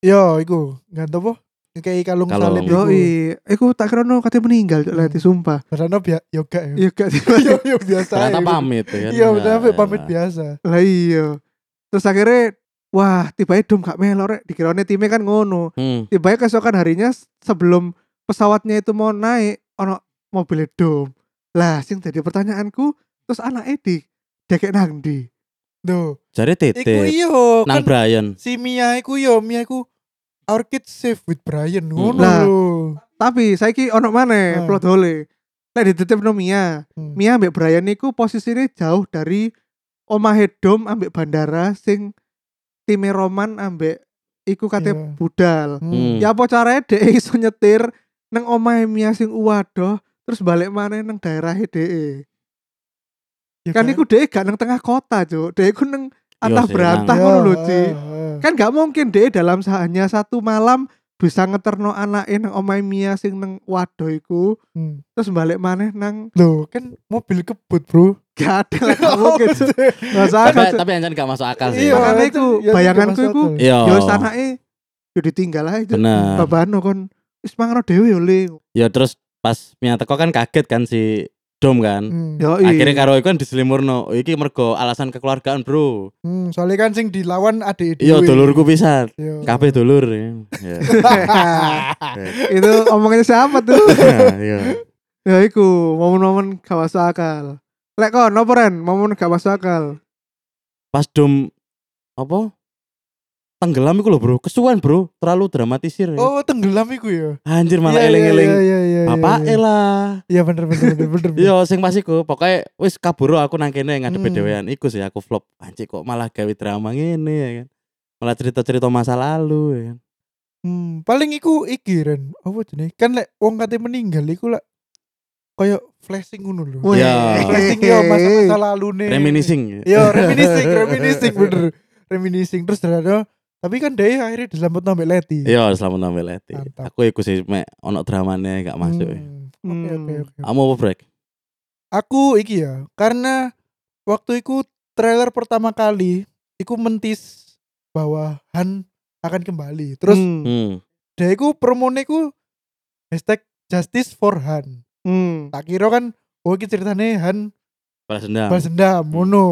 [SPEAKER 2] iya. Yo, iku. Ganti apa? Kayak kalung,
[SPEAKER 3] Kalung.
[SPEAKER 2] salib
[SPEAKER 1] Yo,
[SPEAKER 2] iku.
[SPEAKER 1] iku tak kira orang katanya meninggal, Cik, leti sumpah.
[SPEAKER 2] Berana biar yoga ya.
[SPEAKER 1] Iya gak sih?
[SPEAKER 2] Yo, yo biasa.
[SPEAKER 3] ternyata
[SPEAKER 2] ya.
[SPEAKER 3] pamit ya kan
[SPEAKER 2] Iya, benar
[SPEAKER 3] Ya,
[SPEAKER 2] pamit
[SPEAKER 3] elah.
[SPEAKER 2] biasa.
[SPEAKER 1] Lah iya. Terus akhirnya wah tiba-tiba dom gak melor rek dikirane timnya kan ngono.
[SPEAKER 3] Hmm.
[SPEAKER 1] Tiba-tiba keesokan harinya s- sebelum pesawatnya itu mau naik ono mobil dom. Lah sing jadi pertanyaanku terus anak Edi dekek nang ndi?
[SPEAKER 2] Duh.
[SPEAKER 3] Jadi
[SPEAKER 2] Iku
[SPEAKER 3] titip
[SPEAKER 2] iyo kan
[SPEAKER 3] nang Brian.
[SPEAKER 2] si Mia iku yo, Mia iku Our kids safe with Brian ngono
[SPEAKER 1] Lah.
[SPEAKER 2] lho.
[SPEAKER 1] Tapi saiki ono maneh
[SPEAKER 2] Hmm.
[SPEAKER 1] plot hole. Lah dititip no Mia.
[SPEAKER 2] Hmm.
[SPEAKER 1] Mia ambek Brian niku posisinya jauh dari omahe dom ambek bandara sing time Roman ambek iku kate
[SPEAKER 2] Iya.
[SPEAKER 1] budal.
[SPEAKER 3] Mm.
[SPEAKER 2] Hmm.
[SPEAKER 1] Ya apa caranya DE iso nyetir nang omahe Mia sing uwadoh terus balik maneh nang daerah DE.
[SPEAKER 2] Iya Ya
[SPEAKER 1] Kan iku DE gak nang tengah kota, Cuk. DE ku nang atah
[SPEAKER 3] sih,
[SPEAKER 1] berantah
[SPEAKER 2] Iya,
[SPEAKER 1] ngono lho, Ci.
[SPEAKER 2] heeh.
[SPEAKER 1] Kan gak mungkin DE dalam hanya satu malam bisa ngeterno anake nang omahe Mia sing nang wadoh iku
[SPEAKER 2] Hmm.
[SPEAKER 1] terus balik maneh nang
[SPEAKER 2] Loh kan mobil kebut bro
[SPEAKER 1] gak ada lah
[SPEAKER 2] Oh,
[SPEAKER 1] gak mungkin. Cuk. Gak usah
[SPEAKER 3] Tapi
[SPEAKER 1] akal, Cuk.
[SPEAKER 3] tapi anjan gak masuk akal sih.
[SPEAKER 2] Ah, Iya,
[SPEAKER 1] Makanya iku
[SPEAKER 2] itu-
[SPEAKER 1] bayanganku
[SPEAKER 2] itu
[SPEAKER 1] iku
[SPEAKER 2] masuk akal.
[SPEAKER 3] Iya.
[SPEAKER 1] yo sanake yo ya ditinggal ae. Cuk.
[SPEAKER 3] Bener.
[SPEAKER 1] Babano kon wis mangano dhewe yo le.
[SPEAKER 3] Ya terus pas Mia teko kan kaget kan si Dom kan.
[SPEAKER 2] Hmm.
[SPEAKER 1] Yo
[SPEAKER 3] Akhirnya karo iku kan diselimurno. Iki mergo alasan kekeluargaan, Bro.
[SPEAKER 2] Hmm, soalnya kan sing dilawan adik
[SPEAKER 3] Iya, dulurku pisan.
[SPEAKER 2] Iya.
[SPEAKER 3] Kabeh dulur. Iya.
[SPEAKER 1] itu omongannya siapa tuh?
[SPEAKER 3] Iya.
[SPEAKER 1] ya iku momen-momen gak masuk akal lek kon apa ren momen gak masuk akal
[SPEAKER 3] Pas Dom apa? Tenggelam iku lho, Bro. Kesuwan, Bro. Terlalu dramatisir. ya.
[SPEAKER 2] Oh tenggelam iku ya.
[SPEAKER 3] Anjir
[SPEAKER 2] Iya,
[SPEAKER 3] malah
[SPEAKER 2] iya,
[SPEAKER 3] eling-eling.
[SPEAKER 2] iya, iya, iya,
[SPEAKER 3] Bapak
[SPEAKER 2] iya.
[SPEAKER 3] lah.
[SPEAKER 2] Iya bener bener bener bener. bener.
[SPEAKER 3] Yo sing pas iku pokoke wis kabur aku nang kene ngadepi
[SPEAKER 2] Hmm.
[SPEAKER 3] dhewean iku sih aku flop. Anjir kok malah gawe drama ngene ya kan. Malah cerita-cerita masa lalu ya kan.
[SPEAKER 2] Hmm, paling iku iki Ren. Apa jenenge? Kan lek wong kate meninggal iku lek koyo flashing ngono lho.
[SPEAKER 1] Weh.
[SPEAKER 3] Ya.
[SPEAKER 2] Flashing yo masa-masa lalu nih.
[SPEAKER 3] Reminiscing. ya.
[SPEAKER 2] Yo reminiscing, reminiscing bener. Reminiscing terus ada tapi kan dia akhirnya diselamat sampai Leti.
[SPEAKER 3] Iya, selamat tampil Leti.
[SPEAKER 2] Mantap.
[SPEAKER 3] Aku iku sih mek ono dramane gak masuk. ya.
[SPEAKER 2] Hmm. Oke oke
[SPEAKER 1] Hmm.
[SPEAKER 2] oke.
[SPEAKER 3] Kamu apa break?
[SPEAKER 2] Aku iki ya, karena waktu iku trailer pertama kali iku mentis bahwa Han akan kembali. Terus
[SPEAKER 1] Hmm.
[SPEAKER 3] Hmm.
[SPEAKER 2] dia iku promone iku hashtag justice for Han.
[SPEAKER 1] Hmm.
[SPEAKER 2] Tak kira kan oh iki ceritane Han
[SPEAKER 3] Balas dendam.
[SPEAKER 2] balas dendam mono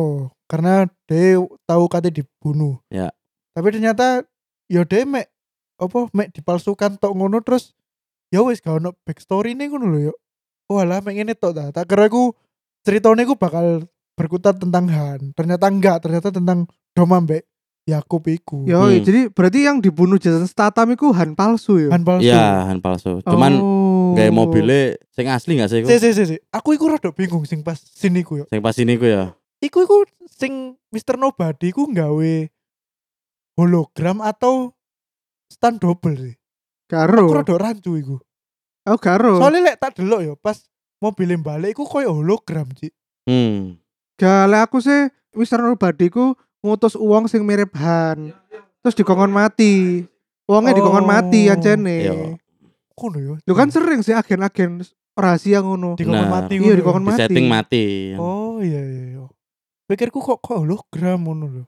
[SPEAKER 2] karena dia tahu katanya dibunuh.
[SPEAKER 3] Ya.
[SPEAKER 2] Tapi ternyata ya dia mek apa mek dipalsukan tok ngono terus ya wis gak ono backstory nih ngono lho yo. Oh alah mek ngene tok ta. Tak kira aku ceritanya aku bakal berkutat tentang Han. Ternyata enggak, ternyata tentang Doma mbek Yakub iku.
[SPEAKER 1] Yo,
[SPEAKER 3] Hmm.
[SPEAKER 1] jadi berarti yang dibunuh Jason Statham itu Han palsu ya?
[SPEAKER 2] Han palsu.
[SPEAKER 3] Iya, han palsu. Cuman
[SPEAKER 1] oh.
[SPEAKER 3] gaya mobilnya sing asli gak sih iku?
[SPEAKER 2] Si, si, si, si. Aku iku rada bingung sing pas sini ku yo.
[SPEAKER 3] Sing pas ini ku ya.
[SPEAKER 2] Iku iku sing Mr. Nobody ku nggawe hologram atau stand double sih. Aku
[SPEAKER 1] Karo.
[SPEAKER 2] rada rancu iku.
[SPEAKER 1] Oh, karo.
[SPEAKER 2] Soalnya lek tak delok yo pas mobilnya balik iku koyo hologram, Ci.
[SPEAKER 3] Hmm.
[SPEAKER 1] Gale aku sih Mr. Nobody ku ngutus uang sing mirip Han.
[SPEAKER 2] Ya,
[SPEAKER 1] Terus dikongkon mati. Uangnya dikongkon
[SPEAKER 2] iya, Oh.
[SPEAKER 1] mati ancene.
[SPEAKER 3] Iya.
[SPEAKER 2] Kono yo.
[SPEAKER 1] Lu kan sering sih agen-agen rahasia ngono.
[SPEAKER 2] dikongkon
[SPEAKER 3] Benar.
[SPEAKER 2] mati
[SPEAKER 1] Iya,
[SPEAKER 2] ngono yo.
[SPEAKER 1] dikongkon
[SPEAKER 3] Di
[SPEAKER 1] mati.
[SPEAKER 3] setting mati.
[SPEAKER 2] Oh iya iya iya. Pikirku kok kok hologram ngono lho.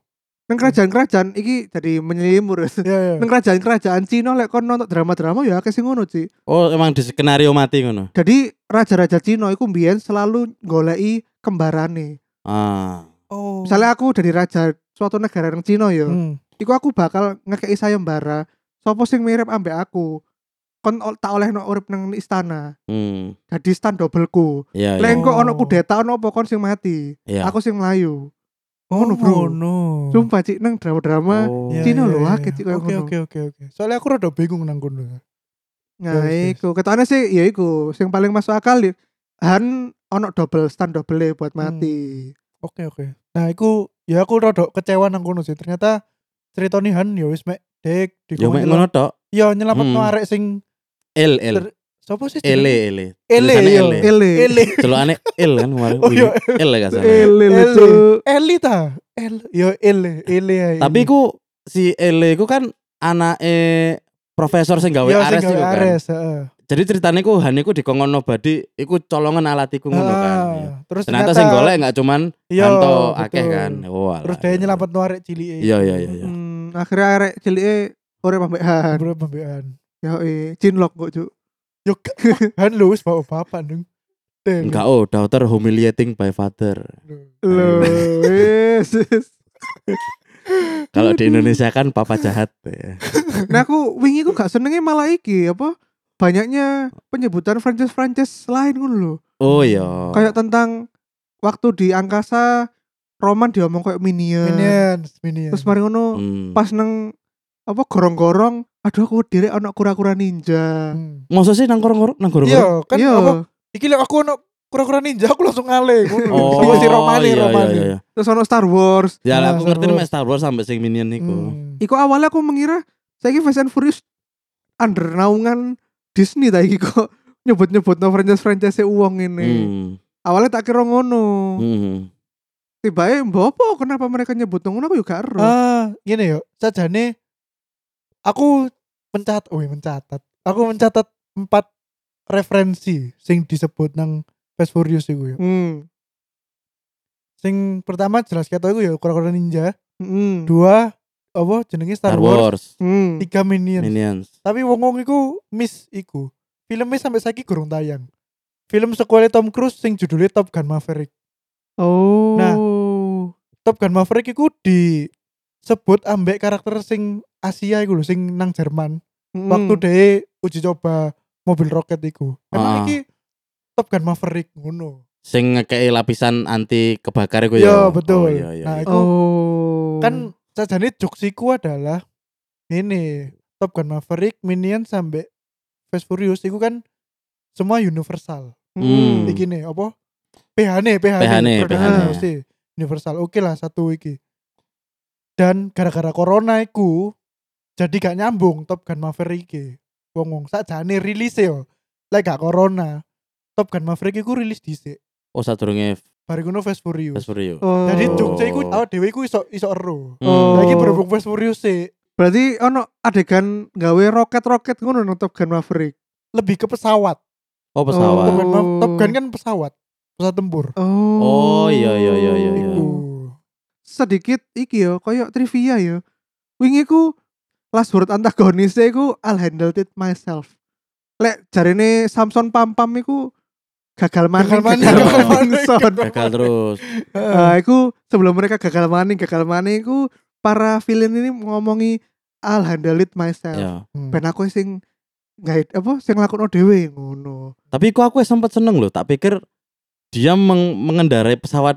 [SPEAKER 1] Nang kerajaan-kerajaan iki jadi menyelimur.
[SPEAKER 2] Iya iya.
[SPEAKER 1] Nang kerajaan-kerajaan Cina lek kon nonton drama-drama ya akeh sing ngono sih.
[SPEAKER 3] Oh, emang di skenario mati ngono.
[SPEAKER 1] Jadi raja-raja Cina iku mbiyen selalu goleki kembarane.
[SPEAKER 3] Ah.
[SPEAKER 2] Oh.
[SPEAKER 1] Misalnya aku dari raja suatu negara yang Cina ya.
[SPEAKER 2] Hmm.
[SPEAKER 1] iku aku bakal ngekei sayembara sopo sing mirip ambek aku kon ol- tak oleh no urip nang istana
[SPEAKER 3] Hmm.
[SPEAKER 1] jadi stand dobelku
[SPEAKER 3] Iya, iya.
[SPEAKER 1] leng kok ono
[SPEAKER 2] Oh.
[SPEAKER 1] kudeta ono apa kon sing mati
[SPEAKER 3] Iya.
[SPEAKER 1] aku sing melayu
[SPEAKER 2] Oh,
[SPEAKER 1] Ngono, bro.
[SPEAKER 2] ngono.
[SPEAKER 1] sumpah cik nang drama-drama
[SPEAKER 3] Oh.
[SPEAKER 2] Iya,
[SPEAKER 1] Cina
[SPEAKER 2] iya,
[SPEAKER 1] lho,
[SPEAKER 2] iya.
[SPEAKER 1] akeh, Ci, koyo
[SPEAKER 2] Oke
[SPEAKER 1] ngono.
[SPEAKER 2] oke oke oke. Soalnya aku rada bingung nang kono.
[SPEAKER 1] nah
[SPEAKER 2] Yes, yes.
[SPEAKER 1] iku ketane sih ya iku sing paling masuk akal ya, Han ono double stand double buat mati
[SPEAKER 2] Oke oke. Nah, aku ya aku rada kecewa nang kono sih. Ternyata ceritane Han ya wis mek dek
[SPEAKER 3] Yo mek ngono tok.
[SPEAKER 2] Ya nyelametno
[SPEAKER 3] Hmm.
[SPEAKER 2] arek sing
[SPEAKER 3] L L.
[SPEAKER 2] Ter- sapa sih?
[SPEAKER 3] Ele
[SPEAKER 2] jenenge? Ele,
[SPEAKER 3] ele. Tulisannya
[SPEAKER 2] iya.
[SPEAKER 3] Ele.
[SPEAKER 1] ele
[SPEAKER 2] Ele.
[SPEAKER 3] Celokane L kan kemarin.
[SPEAKER 2] Oh iya.
[SPEAKER 3] L gak salah.
[SPEAKER 1] ele
[SPEAKER 2] Ele.
[SPEAKER 1] lucu
[SPEAKER 2] Eli ta. El yo Ele, Ele ya.
[SPEAKER 3] Tapi ku si Ele ku kan anake profesor sing gawe Ares
[SPEAKER 2] itu
[SPEAKER 3] iku kan.
[SPEAKER 2] Ya, Ares, heeh.
[SPEAKER 3] Jadi ceritanya ku Han iku dikongkon nobody iku colongan alatiku ngono kan.
[SPEAKER 2] Ah, Terus
[SPEAKER 3] Ternyata sing golek gak cuman
[SPEAKER 2] Iya,
[SPEAKER 3] Hanto
[SPEAKER 2] betul.
[SPEAKER 3] akeh kan. Oh, alah.
[SPEAKER 2] Terus dia nyelametno arek cilike.
[SPEAKER 3] Iya iya iya iya.
[SPEAKER 1] Hmm, akhirnya arek cilik urip ambek Han
[SPEAKER 2] Bro pembeaan.
[SPEAKER 1] ya eh cinlok kok cuk
[SPEAKER 2] Yo gak- Han lu wis bapak-bapak nung. Del.
[SPEAKER 3] Enggak oh, daughter humiliating by father.
[SPEAKER 1] lho wis wis.
[SPEAKER 3] Kalau di Indonesia kan papa jahat ya.
[SPEAKER 1] Nah aku wingi aku gak senengnya malah iki apa banyaknya penyebutan franchise-franchise lain ngono lho.
[SPEAKER 3] Oh iya.
[SPEAKER 1] Kayak tentang waktu di angkasa Roman diomong kayak Minion.
[SPEAKER 2] Minions, Minions.
[SPEAKER 1] Terus mari ngono
[SPEAKER 3] Hmm.
[SPEAKER 1] pas neng apa gorong-gorong aduh aku direk ana kura-kura ninja.
[SPEAKER 2] Hmm.
[SPEAKER 3] Masa sih nang korong-korong nang gorong-gorong?
[SPEAKER 2] Iya, kan
[SPEAKER 1] Iya.
[SPEAKER 2] apa Iki lek aku ono kura-kura ninja aku langsung ngale ngono.
[SPEAKER 3] Oh,
[SPEAKER 2] Sama si Romani,
[SPEAKER 3] iya, iya,
[SPEAKER 2] Romani.
[SPEAKER 3] iya, iya.
[SPEAKER 1] Terus ono Star Wars.
[SPEAKER 3] Ya,
[SPEAKER 2] Nah,
[SPEAKER 3] aku
[SPEAKER 2] Star
[SPEAKER 3] ngerti nih
[SPEAKER 2] Wars.
[SPEAKER 3] Star Wars sampai sing minion niku.
[SPEAKER 2] Hmm.
[SPEAKER 1] Iku awalnya aku mengira saiki Fast and Furious under naungan Disney ta iki kok nyebut-nyebut franchise-franchise uang ini.
[SPEAKER 3] Hmm.
[SPEAKER 1] Awalnya tak kira ngono.
[SPEAKER 3] Hmm.
[SPEAKER 1] tiba-tiba bopo kenapa mereka nyebut ngono aku juga ero
[SPEAKER 2] Ah, gini yo. Sajane aku mencatat, oh mencatat. Aku mencatat empat referensi sing disebut nang Fast Furious iku yo.
[SPEAKER 1] hmm.
[SPEAKER 2] Sing pertama jelas kata iku yo kura-kura ninja.
[SPEAKER 1] Hmm.
[SPEAKER 2] Dua apa jenenge Star,
[SPEAKER 3] Star
[SPEAKER 2] Wars.
[SPEAKER 3] Wars,
[SPEAKER 1] Hmm.
[SPEAKER 2] Tiga Minions.
[SPEAKER 3] Minions.
[SPEAKER 2] Tapi wong wong iku miss iku. Filmnya sampai saiki gurung tayang. Film sequel Tom Cruise sing judulnya Top Gun Maverick.
[SPEAKER 1] oh
[SPEAKER 2] Nah. Top Gun Maverick iku disebut ambek karakter sing Asia iku lho sing nang Jerman.
[SPEAKER 1] Hmm.
[SPEAKER 2] Waktu deh uji coba mobil roket iku.
[SPEAKER 3] Ah.
[SPEAKER 2] Emang iki Top Gun Maverick ngono.
[SPEAKER 3] Sing ngekei lapisan anti kebakar iku
[SPEAKER 2] Iya,
[SPEAKER 3] ya.
[SPEAKER 2] betul.
[SPEAKER 3] Oh, iya, iya,
[SPEAKER 2] Nah,
[SPEAKER 3] iya.
[SPEAKER 2] iku
[SPEAKER 1] oh
[SPEAKER 2] kan sajane joksiku adalah ini Top Gun Maverick, Minion sampai Fast Furious iku kan semua universal.
[SPEAKER 3] Hmm.
[SPEAKER 2] Iki nih apa? PH nih, PH
[SPEAKER 3] PH nih,
[SPEAKER 2] produk
[SPEAKER 1] PH nih.
[SPEAKER 2] produksi. eh, Universal. Oke lah satu iki. Dan gara-gara corona iku jadi gak e, nyambung Top Gun Maverick iki. Wong wong sakjane rilis yo. Lek gak corona, Top Gun Maverick iku rilis dhisik.
[SPEAKER 3] Oh sadurunge
[SPEAKER 2] Bariku no Fast Furious.
[SPEAKER 3] Fast Furious.
[SPEAKER 1] Oh.
[SPEAKER 2] Jadi
[SPEAKER 3] Oh.
[SPEAKER 2] Jogja iku awak dhewe iku iso iso ero.
[SPEAKER 3] Hmm.
[SPEAKER 1] Oh.
[SPEAKER 2] Lagi berhubung Fast Furious e, sih
[SPEAKER 1] Berarti ono adegan gawe roket-roket ngono nang Top Gun Maverick.
[SPEAKER 2] lebih ke pesawat.
[SPEAKER 3] Oh pesawat.
[SPEAKER 2] Top Gun, Ma-
[SPEAKER 1] Oh.
[SPEAKER 2] Top Gun kan pesawat, pesawat tempur.
[SPEAKER 1] Oh.
[SPEAKER 3] Oh, iya, iya, iya, iya, iya.
[SPEAKER 2] Iku.
[SPEAKER 1] Sedikit iki yo, koyok trivia yo. Wingi ku last word antagonisnya iku I'll handle it myself. Lek jarine Samson Pampam iku gagal maning,
[SPEAKER 2] Gagal
[SPEAKER 1] gagal,
[SPEAKER 2] maning,
[SPEAKER 3] gagal
[SPEAKER 2] maning,
[SPEAKER 1] pingsan.
[SPEAKER 3] Gagal terus.
[SPEAKER 2] Heeh.
[SPEAKER 1] Nah, iku sebelum mereka gagal maning, gagal maning iku para villain ini ngomongi I'll handle it myself.
[SPEAKER 3] ya.
[SPEAKER 2] Hmm.
[SPEAKER 1] Ben aku sing ngait apa sing lakono dhewe ngono.
[SPEAKER 3] Tapi kok aku sempat seneng loh. Tak pikir dia meng- mengendarai pesawat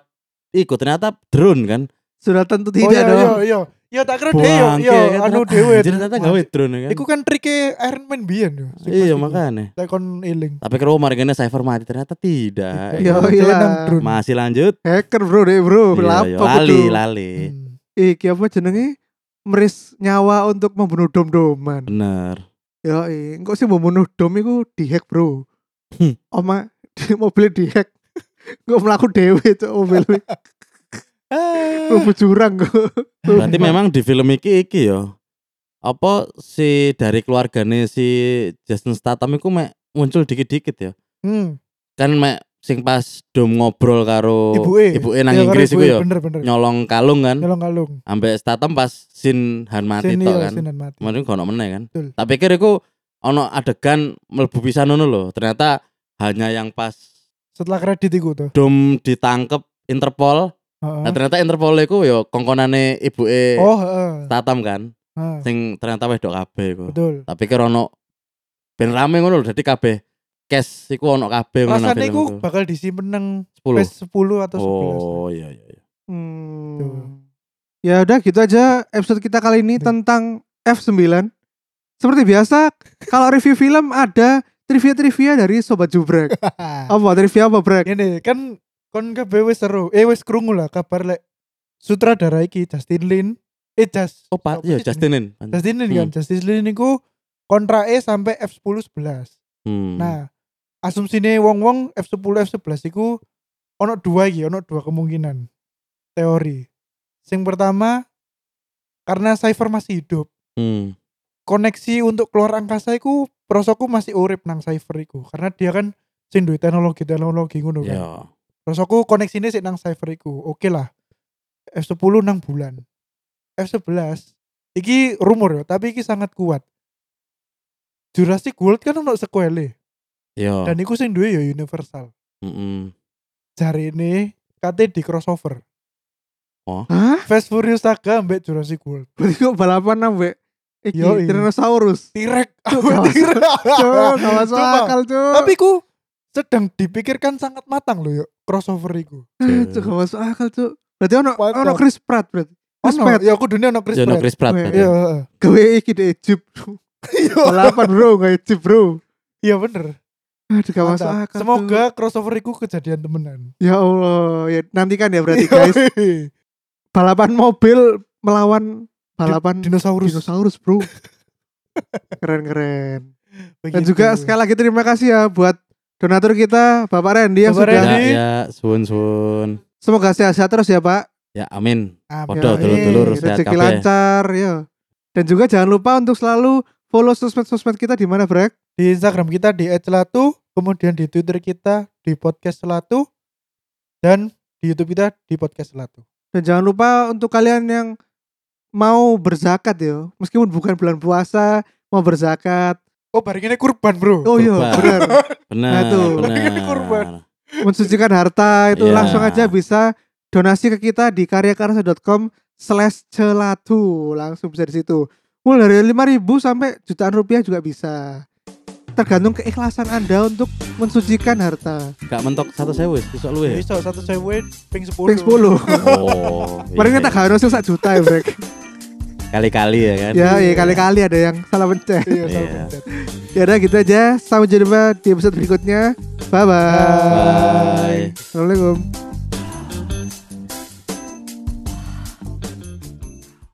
[SPEAKER 3] iku ternyata drone kan.
[SPEAKER 1] Sudah tentu
[SPEAKER 2] Oh
[SPEAKER 1] tidak
[SPEAKER 2] iya
[SPEAKER 1] dong.
[SPEAKER 2] iya iya. Ya tak kira deh yo
[SPEAKER 3] Bangke,
[SPEAKER 2] yo
[SPEAKER 3] kan,
[SPEAKER 2] anu
[SPEAKER 3] ternyata-
[SPEAKER 2] dhewe.
[SPEAKER 3] anjir, Ternyata gawe drone kan.
[SPEAKER 2] Iku kan trike Iron Man biyen yo. sing
[SPEAKER 3] Iya
[SPEAKER 2] pas iku.
[SPEAKER 3] makanya.
[SPEAKER 2] Lek kon eling.
[SPEAKER 3] Tapi kalau marganya cyber mati ternyata tidak.
[SPEAKER 1] Iya.
[SPEAKER 2] Iku
[SPEAKER 1] ilah.
[SPEAKER 2] nang drone.
[SPEAKER 3] Masih lanjut.
[SPEAKER 1] Hacker bro deh bro,
[SPEAKER 3] Iya, iya.
[SPEAKER 1] laptop
[SPEAKER 3] lali,
[SPEAKER 1] itu.
[SPEAKER 3] lali.
[SPEAKER 2] Hmm.
[SPEAKER 1] Iki apa jenenge? Meris nyawa untuk membunuh dom-doman.
[SPEAKER 3] Bener.
[SPEAKER 1] Yo, engko sih membunuh dom iku dihack, Bro.
[SPEAKER 3] Hmm.
[SPEAKER 1] Oma di mobil dihack. Engko mlaku dhewe cok mobil iki. Mlebu jurang kok.
[SPEAKER 3] Berarti memang di film iki iki yo. Apa si dari keluargane si Jason Statham iku mek muncul dikit-dikit ya.
[SPEAKER 2] Hmm.
[SPEAKER 3] Kan mek sing pas dom ngobrol karo
[SPEAKER 2] Ibuke.
[SPEAKER 3] nang
[SPEAKER 2] Iya,
[SPEAKER 3] Inggris
[SPEAKER 2] karo
[SPEAKER 3] iku
[SPEAKER 2] ibuke,
[SPEAKER 3] yo.
[SPEAKER 2] Bener bener. Iya.
[SPEAKER 3] Nyolong kalung kan.
[SPEAKER 2] Nyolong-kalung.
[SPEAKER 3] Ambek Statham pas sin Han mati
[SPEAKER 2] Sini
[SPEAKER 3] tok
[SPEAKER 2] yo,
[SPEAKER 3] kan.
[SPEAKER 2] sinan mati.
[SPEAKER 3] Kemarin kono meneh kan.
[SPEAKER 2] iya, Betul.
[SPEAKER 3] Tak pikir iku ono adegan mlebu pisan ngono lho. Ternyata hanya yang pas
[SPEAKER 2] Setelah kredit iku tuh.
[SPEAKER 3] dom ditangkep Interpol.
[SPEAKER 2] Heeh.
[SPEAKER 3] Nah, ternyata Interpol iku yo kongkonane ibuke
[SPEAKER 2] Oh, heeh.
[SPEAKER 3] Statham kan.
[SPEAKER 2] Heeh.
[SPEAKER 3] sing ternyata wedok kabeh iku.
[SPEAKER 2] Betul.
[SPEAKER 3] Tak pikir ono ben rame ngono lho dadi kabeh cash iku ono kabeh ngono nang
[SPEAKER 2] Rasanya
[SPEAKER 3] film
[SPEAKER 2] iku
[SPEAKER 3] iku.
[SPEAKER 2] bakal disimpen nang
[SPEAKER 3] 10.
[SPEAKER 2] PS 10 atau 11.
[SPEAKER 3] Oh iya iya. iya.
[SPEAKER 2] Tuh.
[SPEAKER 1] Hmm. Ya udah gitu aja episode kita kali ini
[SPEAKER 2] Tuh.
[SPEAKER 1] tentang F9. Seperti biasa, kalau review film ada trivia-trivia dari sobat Jubrek.
[SPEAKER 3] Oh.
[SPEAKER 1] Apa trivia apa, Brek?
[SPEAKER 2] Ini kan kon kabeh wis seru. Eh wis krungu lah kabar lek sutradara iki Justin Lin. Eh Jas.
[SPEAKER 3] Oh Pak,
[SPEAKER 2] apa
[SPEAKER 3] iya
[SPEAKER 2] sih
[SPEAKER 3] Justin Hmm. Lin.
[SPEAKER 2] jeneng? Justin Lin kan. Justin Lin niku kontrake sampai F10 11.
[SPEAKER 3] Hmm.
[SPEAKER 2] Nah, asumsine wong-wong F10 F11 iku ono dua iki, ono dua kemungkinan teori. Sing pertama karena Cypher masih hidup,
[SPEAKER 3] Hmm.
[SPEAKER 2] koneksi untuk keluar angkasa iku prosoku masih urip nang Cypher iku karena dia kan sing duwe teknologi teknologi ngono kan.
[SPEAKER 3] Iya.
[SPEAKER 2] Rasaku koneksinya sih nang server iku. Oke lah. F10 nang bulan. F11 iki rumor ya, tapi iki sangat kuat. Jurassic World kan ono sequel
[SPEAKER 3] Iya.
[SPEAKER 2] dan iku sing duwe ya Universal.
[SPEAKER 3] Heeh.
[SPEAKER 2] Jari ini kate di crossover.
[SPEAKER 1] Hah?
[SPEAKER 2] Fast Furious Saga ambek Jurassic World.
[SPEAKER 1] Berarti kok balapan ambek iki
[SPEAKER 2] Yoi.
[SPEAKER 1] dinosaurus.
[SPEAKER 2] Tirek,
[SPEAKER 1] kawas-
[SPEAKER 2] tirek.
[SPEAKER 1] Cuk, gak masuk
[SPEAKER 2] Sumpah.
[SPEAKER 1] akal, Cuk.
[SPEAKER 2] Tapi ku sedang dipikirkan sangat matang loh yuk crossover iku.
[SPEAKER 1] Ah, Cuk gak masuk akal cuk. Berarti ono
[SPEAKER 2] Mantap.
[SPEAKER 1] ono Chris Pratt berarti. Chris
[SPEAKER 2] Ono,
[SPEAKER 1] Pratt.
[SPEAKER 2] ya aku dunia ono Chris
[SPEAKER 3] Iya, ono
[SPEAKER 2] Pratt.
[SPEAKER 3] Chris Pratt.
[SPEAKER 1] Weh,
[SPEAKER 3] berarti.
[SPEAKER 2] Iya, heeh.
[SPEAKER 1] Gawe iki di Egypt.
[SPEAKER 2] Iya.
[SPEAKER 1] Balapan bro, gak Egypt bro.
[SPEAKER 2] Iya bener.
[SPEAKER 1] Aduh gak masuk
[SPEAKER 2] Mantap.
[SPEAKER 1] akal.
[SPEAKER 2] Semoga
[SPEAKER 1] Cuk.
[SPEAKER 2] crossover iku kejadian temenan.
[SPEAKER 1] ya Allah, ya nantikan ya berarti
[SPEAKER 2] Iya.
[SPEAKER 1] guys. Balapan mobil melawan balapan
[SPEAKER 2] Dinosaurus.
[SPEAKER 1] dinosaurus bro. Keren-keren. Dan
[SPEAKER 2] Begitu.
[SPEAKER 1] juga sekali lagi terima kasih ya buat donatur kita Bapak Randy yang
[SPEAKER 2] Bapak
[SPEAKER 1] sudah.
[SPEAKER 3] Ya,
[SPEAKER 2] Randy.
[SPEAKER 3] ya, suwun-suwun.
[SPEAKER 1] Semoga sehat-sehat terus ya Pak.
[SPEAKER 3] Ya, amin.
[SPEAKER 2] Amin.
[SPEAKER 1] Yoi,
[SPEAKER 3] Podo,
[SPEAKER 2] Iya,
[SPEAKER 3] dulur-dulur, sehat
[SPEAKER 1] rezeki
[SPEAKER 3] kabeh.
[SPEAKER 1] lancar ya. Dan juga jangan lupa untuk selalu follow sosmed-sosmed kita di mana Brek.
[SPEAKER 2] Di Instagram kita di @celatu, kemudian di Twitter kita di podcast celatu dan di YouTube kita di podcast celatu.
[SPEAKER 1] Dan jangan lupa untuk kalian yang mau berzakat ya, meskipun bukan bulan puasa, mau berzakat.
[SPEAKER 2] Oh, bareng ini kurban, Bro.
[SPEAKER 1] Oh iya,
[SPEAKER 3] Kurban.
[SPEAKER 1] benar. Nah,
[SPEAKER 3] Benar.
[SPEAKER 1] tuh.
[SPEAKER 2] Ini kurban.
[SPEAKER 3] Benar.
[SPEAKER 1] Mensucikan harta itu
[SPEAKER 3] Iya.
[SPEAKER 1] langsung aja bisa donasi ke kita di karyakarsa.com slash celatu langsung bisa di situ mulai dari 5000 sampai jutaan rupiah juga bisa tergantung keikhlasan anda untuk mensucikan harta
[SPEAKER 3] Gak mentok satu sewu wis, besok luwe. ya?
[SPEAKER 2] Bisa satu sewe ping 10.
[SPEAKER 1] Ping 10
[SPEAKER 3] Oh.
[SPEAKER 1] Paling
[SPEAKER 3] iya,
[SPEAKER 1] kita
[SPEAKER 3] iya.
[SPEAKER 1] gak harusnya sak juta ya Brek
[SPEAKER 3] kali-kali ya kan.
[SPEAKER 1] Ya iya kali-kali ada yang salah pencet
[SPEAKER 2] Iya, satu
[SPEAKER 3] Iya.
[SPEAKER 2] pencet.
[SPEAKER 1] Ya udah gitu aja Sampai jumpa di episode berikutnya Bye-bye
[SPEAKER 2] Bye.
[SPEAKER 3] Bye.
[SPEAKER 1] Assalamualaikum